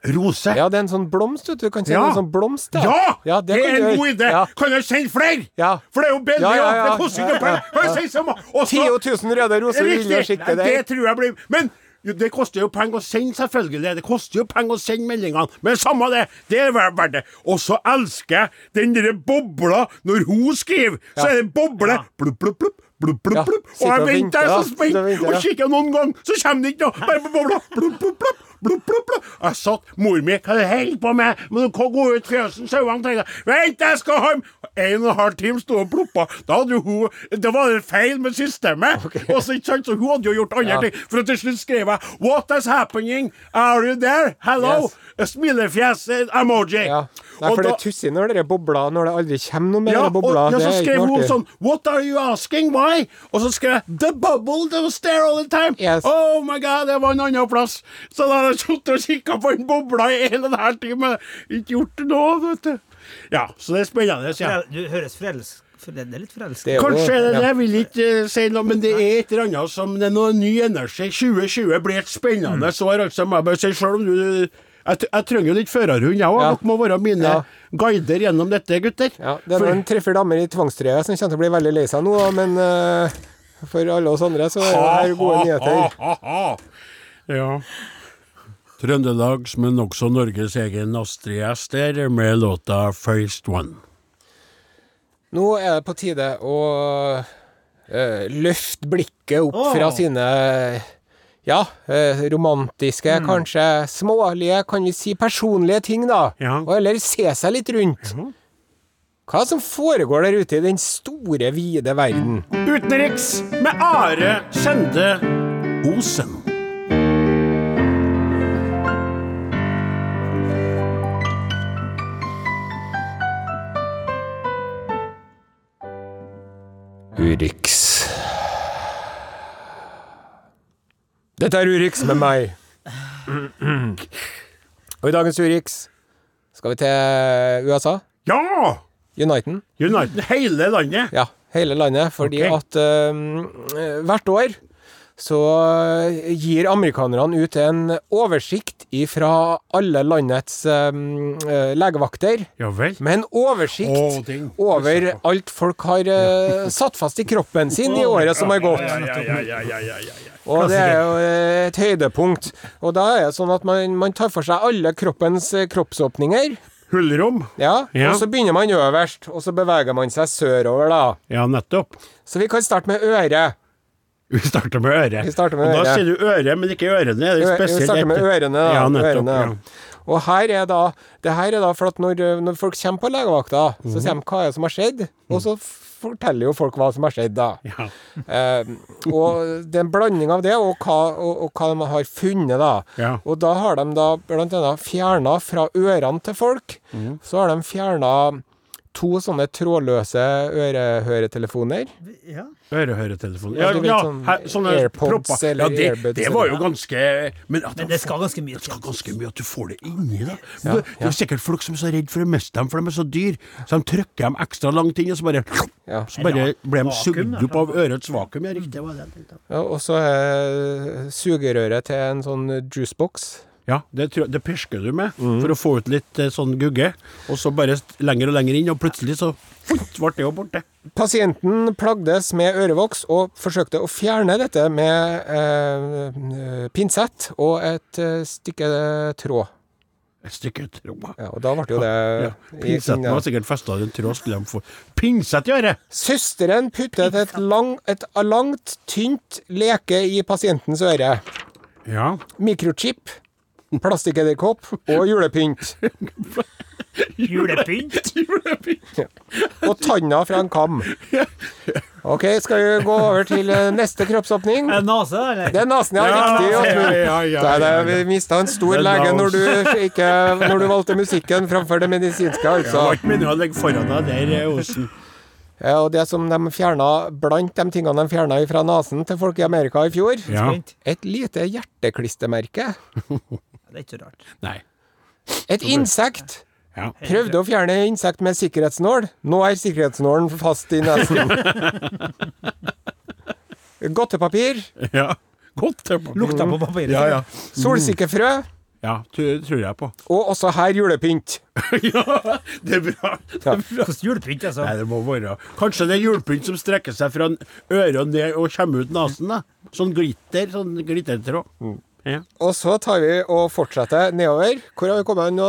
Speaker 3: Rose.
Speaker 2: Ja, det er en sånn blomst, vet du. Du kan sende
Speaker 3: Ja.
Speaker 2: en sånn blomst, da.
Speaker 3: Ja!
Speaker 2: ja
Speaker 3: det,
Speaker 2: kan
Speaker 3: er
Speaker 2: du
Speaker 3: en
Speaker 2: gjøre.
Speaker 3: god idé!
Speaker 2: Ja.
Speaker 3: Kan jeg sende flere?
Speaker 2: Ja.
Speaker 3: For det er jo billig,
Speaker 2: Ja, ja,
Speaker 3: og
Speaker 2: ja.
Speaker 3: det koster ikke penger! Kan jeg sende samme? Og så-
Speaker 2: 10 000 røde roser vil jo sikte
Speaker 3: Nei, det
Speaker 2: deg.
Speaker 3: tror jeg blir Men jo, det koster jo penger å sende, selvfølgelig. Det koster jo penger å sende meldingene. Men samme det, det er vel verdt det. Og så elsker jeg den derre bobla når hun skriver. Så er det en boble. Blubb, blubb, blubb. Blubb, blubb,
Speaker 2: Ja,
Speaker 3: blubb. Og
Speaker 2: sitter
Speaker 3: jeg
Speaker 2: og
Speaker 3: venter, jeg er så
Speaker 2: venter, ja. Sitter og
Speaker 3: spent,
Speaker 2: venter,
Speaker 3: og
Speaker 2: ja.
Speaker 3: kikker noen gang, så kommer det ikke noe. Bare på bobla. Blubb, blubb, blubb. blup, blup, blup. Jeg satt Mor mi, hva er det du holder på med? Må du gå ut fjøsen, sauene? tenkte jeg. Vent, jeg skal hjem! En og en halv time sto og ploppa. Da hadde jo hun Det var en feil med systemet. Og så, ikke sant, så hun hadde jo gjort andre ting. For til slutt skrev jeg 'What is happening? Are you there? Hello?' Smilefjes-emoji.
Speaker 2: Ja. Nei, for det er tussig når det er bobler, når det aldri kommer noe mer
Speaker 3: Ja, og, ja,
Speaker 2: bobler. det
Speaker 3: så
Speaker 2: er
Speaker 3: skrev
Speaker 2: ikke
Speaker 3: hun
Speaker 2: noe
Speaker 3: sånn
Speaker 2: artig.
Speaker 3: What are you asking? Why? Og så skrev jeg The bubble that was there all the time.
Speaker 2: Yes.
Speaker 3: Oh my god, det var en annen plass. Så da har jeg sittet og kikka på den bobla i en og en halv time. Ikke gjort noe, vet du. Ja, så det er spennende. Ja.
Speaker 4: Frel- Du høres forelsk... for- Det er litt forelsket.
Speaker 2: Det er jo-
Speaker 3: Kanskje er det det,
Speaker 2: ja.
Speaker 3: jeg vil ikke eh, si noe, men det er et eller annet som det er noe ny energi. 2020 blir et
Speaker 2: Mm.
Speaker 3: spennende år, altså. må Jeg bare si selv om du jeg, t- jeg trenger jo litt førerhund, jeg òg.
Speaker 2: Ja.
Speaker 3: Dere må være mine
Speaker 2: Ja.
Speaker 3: guider gjennom dette, gutter.
Speaker 2: Ja, det er
Speaker 3: For-
Speaker 2: noen treffer damer i tvangstrøya som kommer til å bli veldig lei seg nå, men eh, for alle oss andre så er det her gode nyheter.
Speaker 3: [laughs] Ja. Trøndelags, men også Norges egen Astrid Ester med låta 'First One'.
Speaker 2: Nå er det på tide å eh, løfte blikket opp
Speaker 4: Åh.
Speaker 2: fra sine ja, eh, romantiske, kanskje smålige, kan vi si personlige ting, da.
Speaker 3: Ja.
Speaker 2: Og heller se seg litt rundt. Hva som foregår der ute i den store, vide verden.
Speaker 3: Utenriks med Are Sende Osen.
Speaker 2: Urix. Dette er Urix med meg. Og i dagens Urix skal vi til USA.
Speaker 3: Ja!
Speaker 2: Uniten.
Speaker 3: United, hele landet.
Speaker 2: Ja, hele landet. Fordi
Speaker 3: Ok.
Speaker 2: at eh, hvert år så eh, gir amerikanerne ut en oversikt ifra alle landets eh, eh, legevakter.
Speaker 3: Ja vel.
Speaker 2: Med en oversikt
Speaker 3: Å, den-
Speaker 2: over alt folk har eh, satt fast i kroppen sin i året som har gått. Og det er jo eh, et høydepunkt. Og da er det sånn at man, man tar for seg alle kroppens eh, kroppsåpninger.
Speaker 3: Hullrom.
Speaker 2: Ja,
Speaker 3: Ja.
Speaker 2: Og så begynner man øverst, og så beveger man seg sørover, da.
Speaker 3: Ja, nettopp.
Speaker 2: Så vi kan starte med øret.
Speaker 3: Vi starter med øret.
Speaker 2: Vi starter med
Speaker 3: Og da
Speaker 2: øret.
Speaker 3: sier du øre, men ikke ørene. Er det
Speaker 2: Ø-
Speaker 3: spesielt?
Speaker 2: Vi starter med ørene, da.
Speaker 3: Ja, nettopp.
Speaker 2: ørene.
Speaker 3: Ja.
Speaker 2: Og her er da Det her er da for at når, ø, når folk kommer på legevakta, så sier
Speaker 3: Mhm.
Speaker 2: de hva er det som har skjedd, og så f- forteller jo folk hva som har skjedd, da. [laughs]
Speaker 3: Ja.
Speaker 2: Eh, og det er en blanding av det og hva, og, og hva de har funnet, da.
Speaker 3: Ja.
Speaker 2: Og da har de da blant annet fjerna fra ørene til folk,
Speaker 3: Mhm.
Speaker 2: så har de fjerna to sånne trådløse ørehøretelefoner.
Speaker 4: Ja.
Speaker 3: Ørehøretelefoner.
Speaker 2: Ja,
Speaker 3: Ja,
Speaker 2: du vet,
Speaker 3: ja,
Speaker 2: sånn
Speaker 3: her- sånne
Speaker 2: AirPods
Speaker 3: propper.
Speaker 2: eller
Speaker 3: Ja, det,
Speaker 2: Airbuds
Speaker 3: det var jo
Speaker 2: eller-
Speaker 3: ganske Men, at
Speaker 4: Men
Speaker 3: de
Speaker 4: det skal ganske mye
Speaker 3: Det skal
Speaker 4: til.
Speaker 3: ganske mye at du får det inni deg.
Speaker 2: Ja,
Speaker 3: det det
Speaker 2: ja.
Speaker 3: er sikkert folk som er så redd for å miste dem, for de er så dyr. Så de trykker dem ekstra langt inn, og så bare,
Speaker 2: Ja.
Speaker 3: så bare ble de
Speaker 4: Vakuum,
Speaker 3: sugd
Speaker 4: da.
Speaker 3: opp av ørets vakuum. Ja, riktig. det var det jeg tenkte.
Speaker 2: Ja, og så er sugerøret til en sånn juicebox.
Speaker 3: Ja, det, tror jeg- det pirsker du med
Speaker 2: Mm.
Speaker 3: for å få ut litt eh, sånn gugge, og så bare st- lenger og lenger inn, og plutselig så futt, ble det jo borte.
Speaker 2: Pasienten plagdes med ørevoks og forsøkte å fjerne dette med eh, pinsett og et eh, stykke tråd.
Speaker 3: Et stykke tråd.
Speaker 2: Ja, og da ble jo det
Speaker 3: Ja,
Speaker 2: i-
Speaker 3: pinsetten var sikkert festa i en tråd, skulle de få Pinsett i øret!
Speaker 2: Søsteren puttet et, lang, et langt, tynt leke i pasientens øre.
Speaker 3: Ja.
Speaker 2: Mikrochip, plastikkedderkopp og julepynt.
Speaker 4: Julepynt?
Speaker 2: Og tanna fra en kam. Ok, skal vi gå over til eh, neste kroppsåpning?
Speaker 4: Er det nase, eller?
Speaker 2: Det er nesen, ja.
Speaker 3: Ja,
Speaker 2: Riktig.
Speaker 3: ja,
Speaker 2: Åsmund.
Speaker 3: ja, ja,
Speaker 2: Nei, det,
Speaker 3: ja, ja.
Speaker 2: vi mista en stor
Speaker 3: Det er
Speaker 2: lege når
Speaker 3: Laos.
Speaker 2: du, ikke, når du valgte musikken framfor det
Speaker 3: Det
Speaker 2: medisinske,
Speaker 3: var
Speaker 2: altså.
Speaker 3: ikke meningen å legge foran deg der, eh, Osen.
Speaker 2: Ja, og det som de fjerna blant de tingene de fjerna fra nesen til folk i Amerika i fjor,
Speaker 3: Ja.
Speaker 4: Pynt?
Speaker 2: et lite hjerteklistremerke.
Speaker 4: Ja, det er ikke så rart.
Speaker 3: Nei.
Speaker 2: Et insekt.
Speaker 3: Ja.
Speaker 2: Prøvde å fjerne insekt med sikkerhetsnål. Nå er sikkerhetsnålen fast i nesen. [laughs] Godtepapir.
Speaker 3: ja. Godt tilbake.
Speaker 4: Lukta på papiret.
Speaker 3: Ja, ja.
Speaker 2: Solsikkefrø.
Speaker 3: Ja, det tror jeg på. [laughs]
Speaker 2: Og også her julepynt.
Speaker 3: ja, det er bra. Det er bra.
Speaker 4: Hvordan julepynt, altså?
Speaker 3: Nei, det må være Kanskje det er julepynt som strekker seg fra øret og ned og kommer ut nesen, da. Sånn glitter, sånn glittertråd. Ja.
Speaker 2: Og så tar vi og fortsetter nedover. Hvor har vi kommet nå?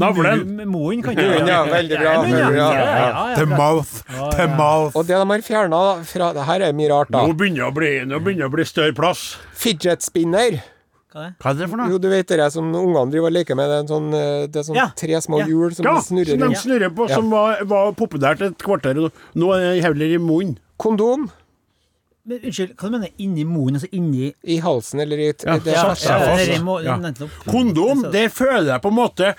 Speaker 3: Navlen.
Speaker 4: Moen kan
Speaker 2: Moen, ja, veldig bra,
Speaker 4: Ja, men
Speaker 2: veldig bra.
Speaker 4: ja, ja, ja,
Speaker 6: The
Speaker 4: bra.
Speaker 6: mouth, the mouth.
Speaker 2: Og det de har fjerna fra Det her er mye rart, da.
Speaker 3: Nå begynner det å bli, nå begynner det å bli større plass.
Speaker 2: Fidget spinner.
Speaker 4: Hva er det?
Speaker 3: Hva er det for noe?
Speaker 2: Jo, du vet det der som ungene driver og leker med? Det er en sånn, eh, det er sånn
Speaker 4: Ja.
Speaker 2: tre små
Speaker 4: Ja.
Speaker 2: hjul som
Speaker 3: Ja, som
Speaker 2: snurrer
Speaker 3: de
Speaker 2: rundt.
Speaker 3: snurrer på, som var, var populært et kvarter. og Nå er det heller i munnen.
Speaker 2: Kondom
Speaker 4: Men unnskyld, hva du mener du? Inni munnen, altså inni
Speaker 2: i halsen eller i eh,
Speaker 3: Ja,
Speaker 2: det,
Speaker 3: ja,
Speaker 4: Ja,
Speaker 3: ja,
Speaker 4: det
Speaker 3: ja.
Speaker 4: er må-
Speaker 3: Ja.
Speaker 4: nettopp.
Speaker 3: Kondom,
Speaker 4: Så- [laughs]
Speaker 3: det føler jeg på en måte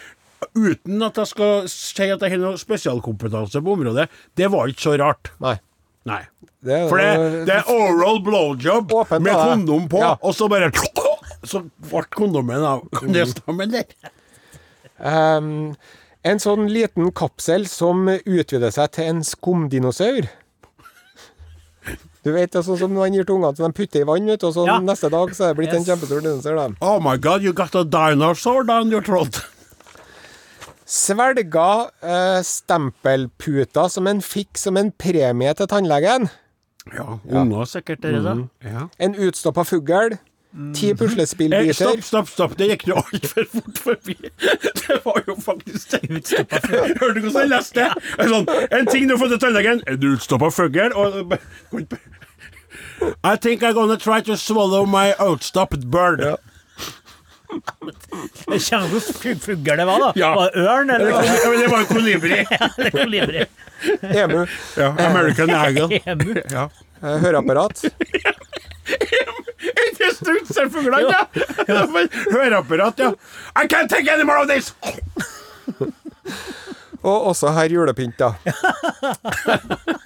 Speaker 3: Uten at jeg skal si at jeg har noe spesialkompetanse på området, det var ikke så rart.
Speaker 2: Nei.
Speaker 3: Nei.
Speaker 2: Det, er-
Speaker 3: For det, det er oral blowjob
Speaker 2: Øh, Åpent,
Speaker 3: med
Speaker 2: da, det.
Speaker 3: kondom på,
Speaker 2: Ja. Mm.
Speaker 3: og så bare Så ble kondomen av. Kan det stemme, eller?
Speaker 2: Ehm, en sånn liten kapsel som utvider seg til en skumdinosaur. Du vet, det er sånn som man gir til ungene, så de putter i vann, vet du, og så
Speaker 4: Ja.
Speaker 2: neste dag så er det blitt en
Speaker 4: Yes.
Speaker 2: kjempestor dinosaur. da.
Speaker 3: Oh my god, you got a dinosaur down your throat.
Speaker 2: Svelga eh, stempelputer som en fikk som en premie til tannlegen.
Speaker 3: Ja, unger sikkert er det da.
Speaker 2: Mm.
Speaker 3: Ja.
Speaker 2: En utstoppa fugl. Ti
Speaker 3: Eh,
Speaker 2: puslespillbiter.
Speaker 3: [laughs] stopp, stopp, stopp. Det gikk jo altfor fort forbi. [laughs] Det var jo faktisk det.
Speaker 4: Utstoppa
Speaker 3: [laughs] Hørte du hvordan jeg leste det? En Sånn, en ting du har fått til tannlegen. En utstoppa fugl og [laughs] I think I'm gonna try to swallow my outstopped bird. [laughs]
Speaker 4: Jeg kjenner hvor fu- fugl det var, da.
Speaker 3: Ja.
Speaker 4: Var det ørn, eller?
Speaker 3: Det,
Speaker 4: var det-
Speaker 3: kom, det var en kolibri.
Speaker 4: eller kolibri?
Speaker 2: Emu.
Speaker 3: Ja, American [laughs] Eagle.
Speaker 4: Emu?
Speaker 3: Ja.
Speaker 2: Eh, høreapparat.
Speaker 3: Ikke strutser fuglene, [laughs] ja! Høreapparat, ja. I can't take any more of this!
Speaker 2: Og også her
Speaker 3: [laughs]
Speaker 2: julepynt, da.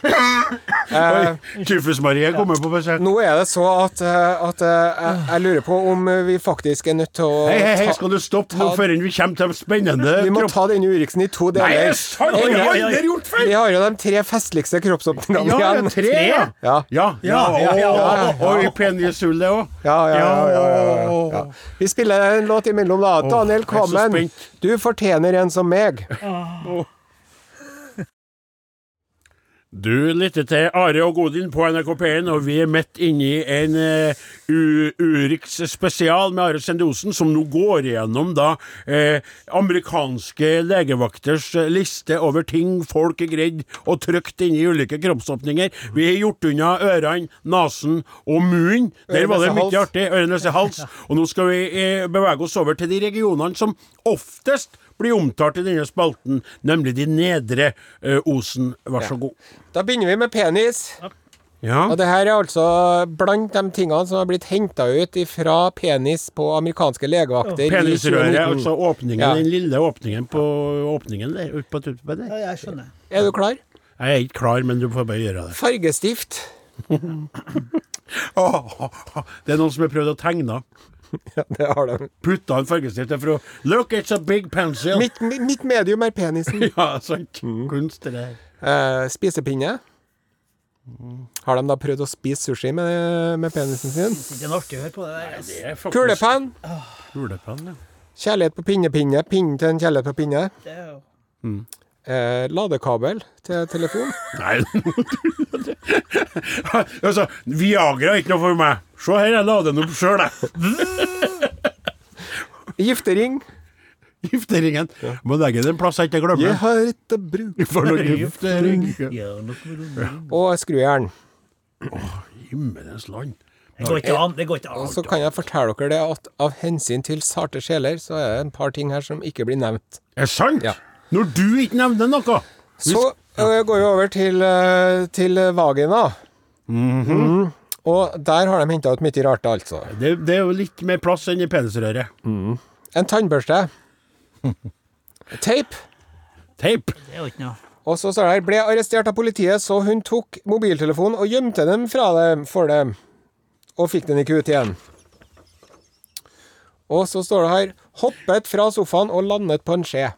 Speaker 2: eh,
Speaker 3: Tyfus-Marie kommer på besøk.
Speaker 2: nå er det så at, eh, at eh, jeg, jeg lurer på om vi faktisk er nødt til å
Speaker 3: Hei, hei, hei,
Speaker 2: ta-
Speaker 3: skal du stoppe nå før vi kommer til spennende
Speaker 2: Vi må
Speaker 3: kropp...
Speaker 2: ta denne Uriksen i to
Speaker 3: Nei, det
Speaker 2: deler.
Speaker 3: er sant! Det har jeg aldri gjort før!
Speaker 2: Vi har jo de tre festligste
Speaker 3: Ja,
Speaker 2: kroppsåpningene igjen.
Speaker 3: tre, ja.
Speaker 2: Ja.
Speaker 3: Ja, ja,
Speaker 4: ja, ja,
Speaker 2: ja.
Speaker 3: og- og i penishullet òg.
Speaker 2: Ja, ja, ja, ja, ja, ja, ja. Vi spiller en låt imellom, da.
Speaker 3: jeg er
Speaker 2: Daniel
Speaker 3: så
Speaker 2: Kvammen,
Speaker 3: spent.
Speaker 2: du fortjener en som meg.
Speaker 3: Du lytter til Are og Godin på NRK P1, og vi er midt inni en eh, U- Urix spesial med Are Sende Osen, som nå går igjennom da eh, amerikanske legevakters eh, liste over ting folk er greid og trykt inni ulike kroppsåpninger. Vi har gjort unna ørene, nesen og munnen. Der var det
Speaker 2: Øre, nese,
Speaker 3: mye
Speaker 2: hals.
Speaker 3: artig. Øre, nese, hals. Og nå skal vi eh, bevege oss over til de regionene som oftest blir omtalt i denne spalten, nemlig de nedre eh, Osen. Vær så god.
Speaker 2: Da begynner vi med penis.
Speaker 3: Ja.
Speaker 2: Og det her er altså blant de tingene som har blitt henta ut fra penis på amerikanske legevakter. i
Speaker 3: Penisrøret,
Speaker 2: 2019.
Speaker 3: altså åpningen,
Speaker 2: Ja.
Speaker 3: den lille åpningen på åpningen der. Ut på tuppen der.
Speaker 4: Ja, jeg skjønner.
Speaker 2: Er du klar?
Speaker 3: Jeg er ikke klar, men du får bare gjøre det.
Speaker 2: Fargestift. [laughs]
Speaker 3: Det er noen som har prøvd å tegne.
Speaker 2: Ja, det har de.
Speaker 3: Putta en fargestift der for å Look, it's a big pencil!
Speaker 2: Mitt, mi- mitt medium er penisen.
Speaker 3: [laughs] Ja, sant. Kunst, det der.
Speaker 2: Eh, spisepinne. Har de da prøvd å spise sushi med, med penisen sin?
Speaker 4: Det er noe artig å høre på det der. ass.
Speaker 3: Det er faktisk
Speaker 2: Kulepenn.
Speaker 3: Kulepenn, ja.
Speaker 2: Kjærlighet på pinnepinne. Pinne til en kjærlighet på pinne.
Speaker 4: Det er jo-
Speaker 2: Eh, ladekabel til telefon.
Speaker 3: Nei [laughs] Altså, Viagra er ikke noe for meg. Se her, jeg la den opp sjøl, jeg.
Speaker 2: Giftering.
Speaker 3: Gifteringen. Må legge den en plass jeg ikke glemmer.
Speaker 2: har ikke bruk
Speaker 3: For
Speaker 2: [laughs]
Speaker 3: noe giftering.
Speaker 4: Gjør noe med det.
Speaker 2: Og skrujern.
Speaker 3: Himmelens land.
Speaker 4: Det går ikke an. Det går ikke an.
Speaker 2: Og så kan jeg fortelle dere det at av hensyn til sarte sjeler, så er det en par ting her som ikke blir nevnt.
Speaker 3: Er det sant?
Speaker 2: Ja.
Speaker 3: Når du ikke nevner noe!
Speaker 2: Så øh, går vi over til, øh, til vagina. Mhm. Og der har de henta ut mye rart, altså.
Speaker 3: Det, det er jo litt mer plass enn i penisrøret.
Speaker 2: En tannbørste. [laughs] Teip.
Speaker 3: Teip!
Speaker 4: Det er jo ikke noe.
Speaker 2: Og så står det her ble arrestert av politiet, så hun tok mobiltelefonen og gjemte den fra dem for dem. Og fikk den ikke ut igjen. Og så står det her hoppet fra sofaen og landet på en skje.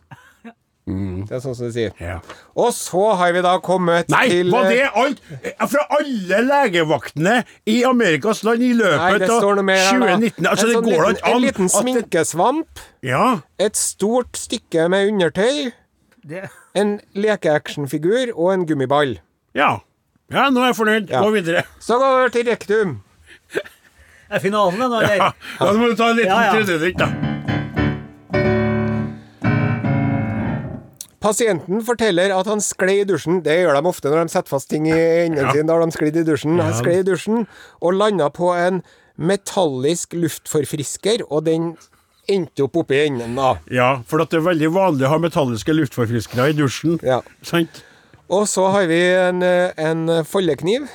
Speaker 3: Mm.
Speaker 2: Det er sånn som de sier.
Speaker 3: Ja.
Speaker 2: Og så har vi da kommet
Speaker 3: Nei,
Speaker 2: til eh,
Speaker 3: var det alt? eh, Fra alle legevaktene i Amerikas land i løpet
Speaker 2: Nei, det står noe mer her,
Speaker 3: av
Speaker 2: da.
Speaker 3: 2019 Altså,
Speaker 2: En
Speaker 3: det
Speaker 2: sånn
Speaker 3: går da
Speaker 2: liten-
Speaker 3: ikke an
Speaker 2: En liten
Speaker 3: at det,
Speaker 2: sminkesvamp,
Speaker 3: Ja,
Speaker 2: et stort stykke med undertøy,
Speaker 4: Det,
Speaker 2: en lekeactionfigur og en gummiball.
Speaker 3: ja. Ja, nå er jeg fornøyd.
Speaker 2: Ja.
Speaker 3: Gå videre.
Speaker 2: Så går vi over til rektum.
Speaker 4: er finalen det nå, eller?
Speaker 3: Ja, da må du ta en liten
Speaker 4: Ja, ja.
Speaker 3: tredjedrikk, da.
Speaker 2: Pasienten forteller at han sklei i dusjen. Det gjør de ofte når de setter fast ting i enden sin. Da har de sklidd i dusjen. Han sklei i dusjen og landa på en metallisk luftforfrisker, og den endte opp oppi enden, da.
Speaker 3: Ja, for at det er veldig vanlig å ha metalliske luftforfriskere i dusjen.
Speaker 2: Ja.
Speaker 3: Sant?
Speaker 2: Og så har vi en, eh, en foldekniv.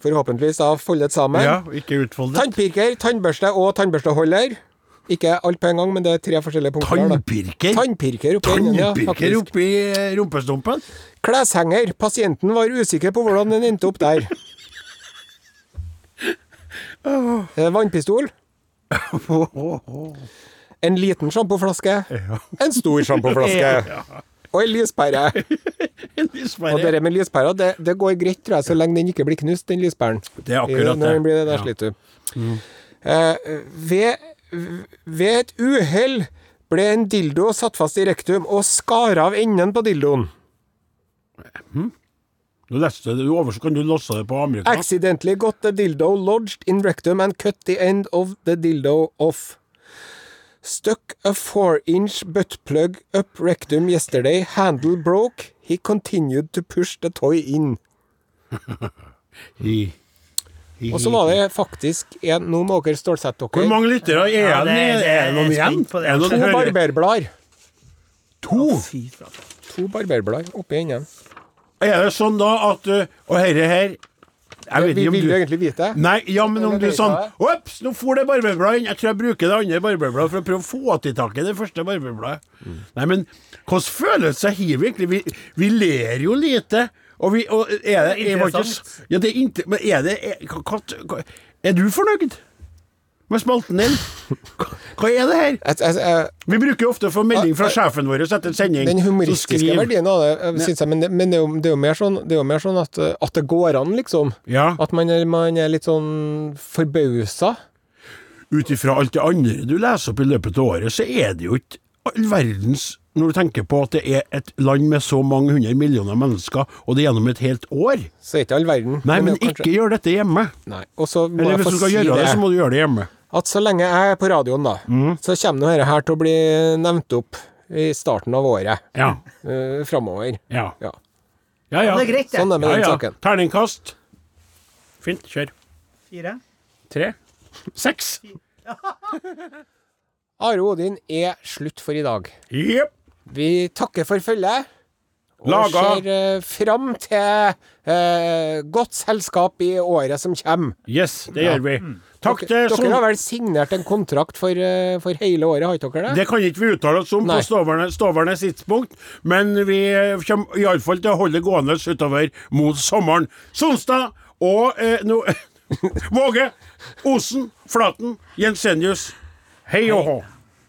Speaker 2: Forhåpentligvis da foldet sammen.
Speaker 3: Ja, ikke utfoldet.
Speaker 2: Tannpirker, tannbørste og tannbørsteholder. Ikke alt på en gang, men det er tre forskjellige punkter. her, da.
Speaker 3: Tannpirker?
Speaker 2: Tannpirker oppi enden, ja.
Speaker 3: Tannpirker
Speaker 2: Faktisk.
Speaker 3: oppi eh, rumpestumpen?
Speaker 2: Kleshenger. Pasienten var usikker på hvordan den endte opp der. Eh, Vannpistol. En liten sjampoflaske. En stor sjampoflaske. Og en lyspære. Og
Speaker 3: Dessverre.
Speaker 2: det med lyspæra, det, det går greit, tror jeg, så lenge den ikke blir knust, den lyspæren.
Speaker 3: Det er akkurat
Speaker 2: Når
Speaker 3: det.
Speaker 2: den blir det, der
Speaker 3: Ja. Mm.
Speaker 2: sliter du. Eh, ved, ved et uhell ble en dildo satt fast i rektum og skar av enden på dildoen.
Speaker 3: Du leste det over, så kan du losse det på Amerika.
Speaker 2: Accidentally got the dildo lodged in rectum and cut the end of the dildo off. Stuck a four-inch butt plug up rectum yesterday. Handle broke. He continued to push the toy in.
Speaker 3: Hi. Hi.
Speaker 2: Og så var det faktisk en Nå må dere stålsette dere.
Speaker 3: Hvor mange lyttere er
Speaker 4: Ja,
Speaker 3: det?
Speaker 4: det- det-
Speaker 3: Er det noen
Speaker 4: jeg er
Speaker 3: igjen?
Speaker 4: spent på det.
Speaker 3: Er det
Speaker 2: To
Speaker 3: noen hører?
Speaker 2: barberblader.
Speaker 3: To?
Speaker 4: Fy flate.
Speaker 2: To barberblader oppi enden.
Speaker 3: Er det sånn da at uh, Og herre her Jeg vet
Speaker 2: Vi
Speaker 3: ikke om
Speaker 2: vil
Speaker 3: du
Speaker 2: jo egentlig vite.
Speaker 3: Nei, ja, men om
Speaker 2: Eller
Speaker 3: du
Speaker 2: vet
Speaker 3: sånn
Speaker 2: jeg.
Speaker 3: Ops, nå for det barberbladet inn. Jeg tror jeg bruker det andre barberbladet for å prøve å få til tak i det første barberbladet. Nei, men hvordan føles det her virkelig? Vi, vi ler jo lite. Og vi og er det,
Speaker 4: Det er
Speaker 3: er ikke,
Speaker 4: interessant.
Speaker 3: s- ja, det er inte, Men er det er, hva- hva- hva- er du fornøyd med spalten din? Hva- Hva er det her?
Speaker 2: Jeg- jeg- jeg-
Speaker 3: Vi bruker jo ofte å få melding fra sjefen vår etter sending.
Speaker 2: Den
Speaker 3: Så
Speaker 2: humoristiske
Speaker 3: skriv-
Speaker 2: verdien av det, jeg synes jeg, men, det, men det, er jo, det er jo mer sånn, det er jo mer sånn at, eh, at det går an, liksom.
Speaker 3: Ja,
Speaker 2: At man er, man er litt sånn forbausa.
Speaker 3: ut ifra alt det andre du leser opp i løpet av året, så er det jo ikke all verdens når du tenker på at det er et land med så mange hundre millioner mennesker, og det gjennom et helt år.
Speaker 2: Så er ikke all verden.
Speaker 3: Nei, men
Speaker 2: det er jo
Speaker 3: ikke gjør dette hjemme.
Speaker 2: Nei. Og så må
Speaker 3: Eller
Speaker 2: jeg
Speaker 3: hvis
Speaker 2: få
Speaker 3: du skal
Speaker 2: si
Speaker 3: gjøre det,
Speaker 2: det,
Speaker 3: så må Mhm. du gjøre det hjemme.
Speaker 2: at så lenge jeg er på radioen, da, så kommer nå dette her til å bli nevnt opp i starten av året
Speaker 3: Ja.
Speaker 2: uh, framover.
Speaker 3: Ja.
Speaker 2: Ja.
Speaker 3: Ja, ja.
Speaker 4: Det er greit, det.
Speaker 2: Sånn er det med
Speaker 3: Ja,
Speaker 2: den
Speaker 3: ja.
Speaker 2: saken.
Speaker 3: Terningkast. Fint. Kjør.
Speaker 4: Fire.
Speaker 3: Tre. Seks.
Speaker 2: Are Odin er slutt for i dag.
Speaker 3: Jepp.
Speaker 2: Vi takker for følget. Og
Speaker 3: Laga.
Speaker 2: ser eh, fram til eh, godt selskap i året som kommer.
Speaker 3: Yes, det gjør vi. Takk
Speaker 2: Dere,
Speaker 3: til
Speaker 2: dere
Speaker 3: Sondre.
Speaker 2: har vel signert en kontrakt for, eh, for hele året, har ikke dere det?
Speaker 3: Det kan ikke vi uttale oss om
Speaker 2: Nei.
Speaker 3: på ståværende, ståværende tidspunkt, men vi kommer iallfall til å holde det gående utover mot sommeren. Sonstad og eh, nå- [laughs] Våge, Osen, Flaten, Jensenius. Hei og hå.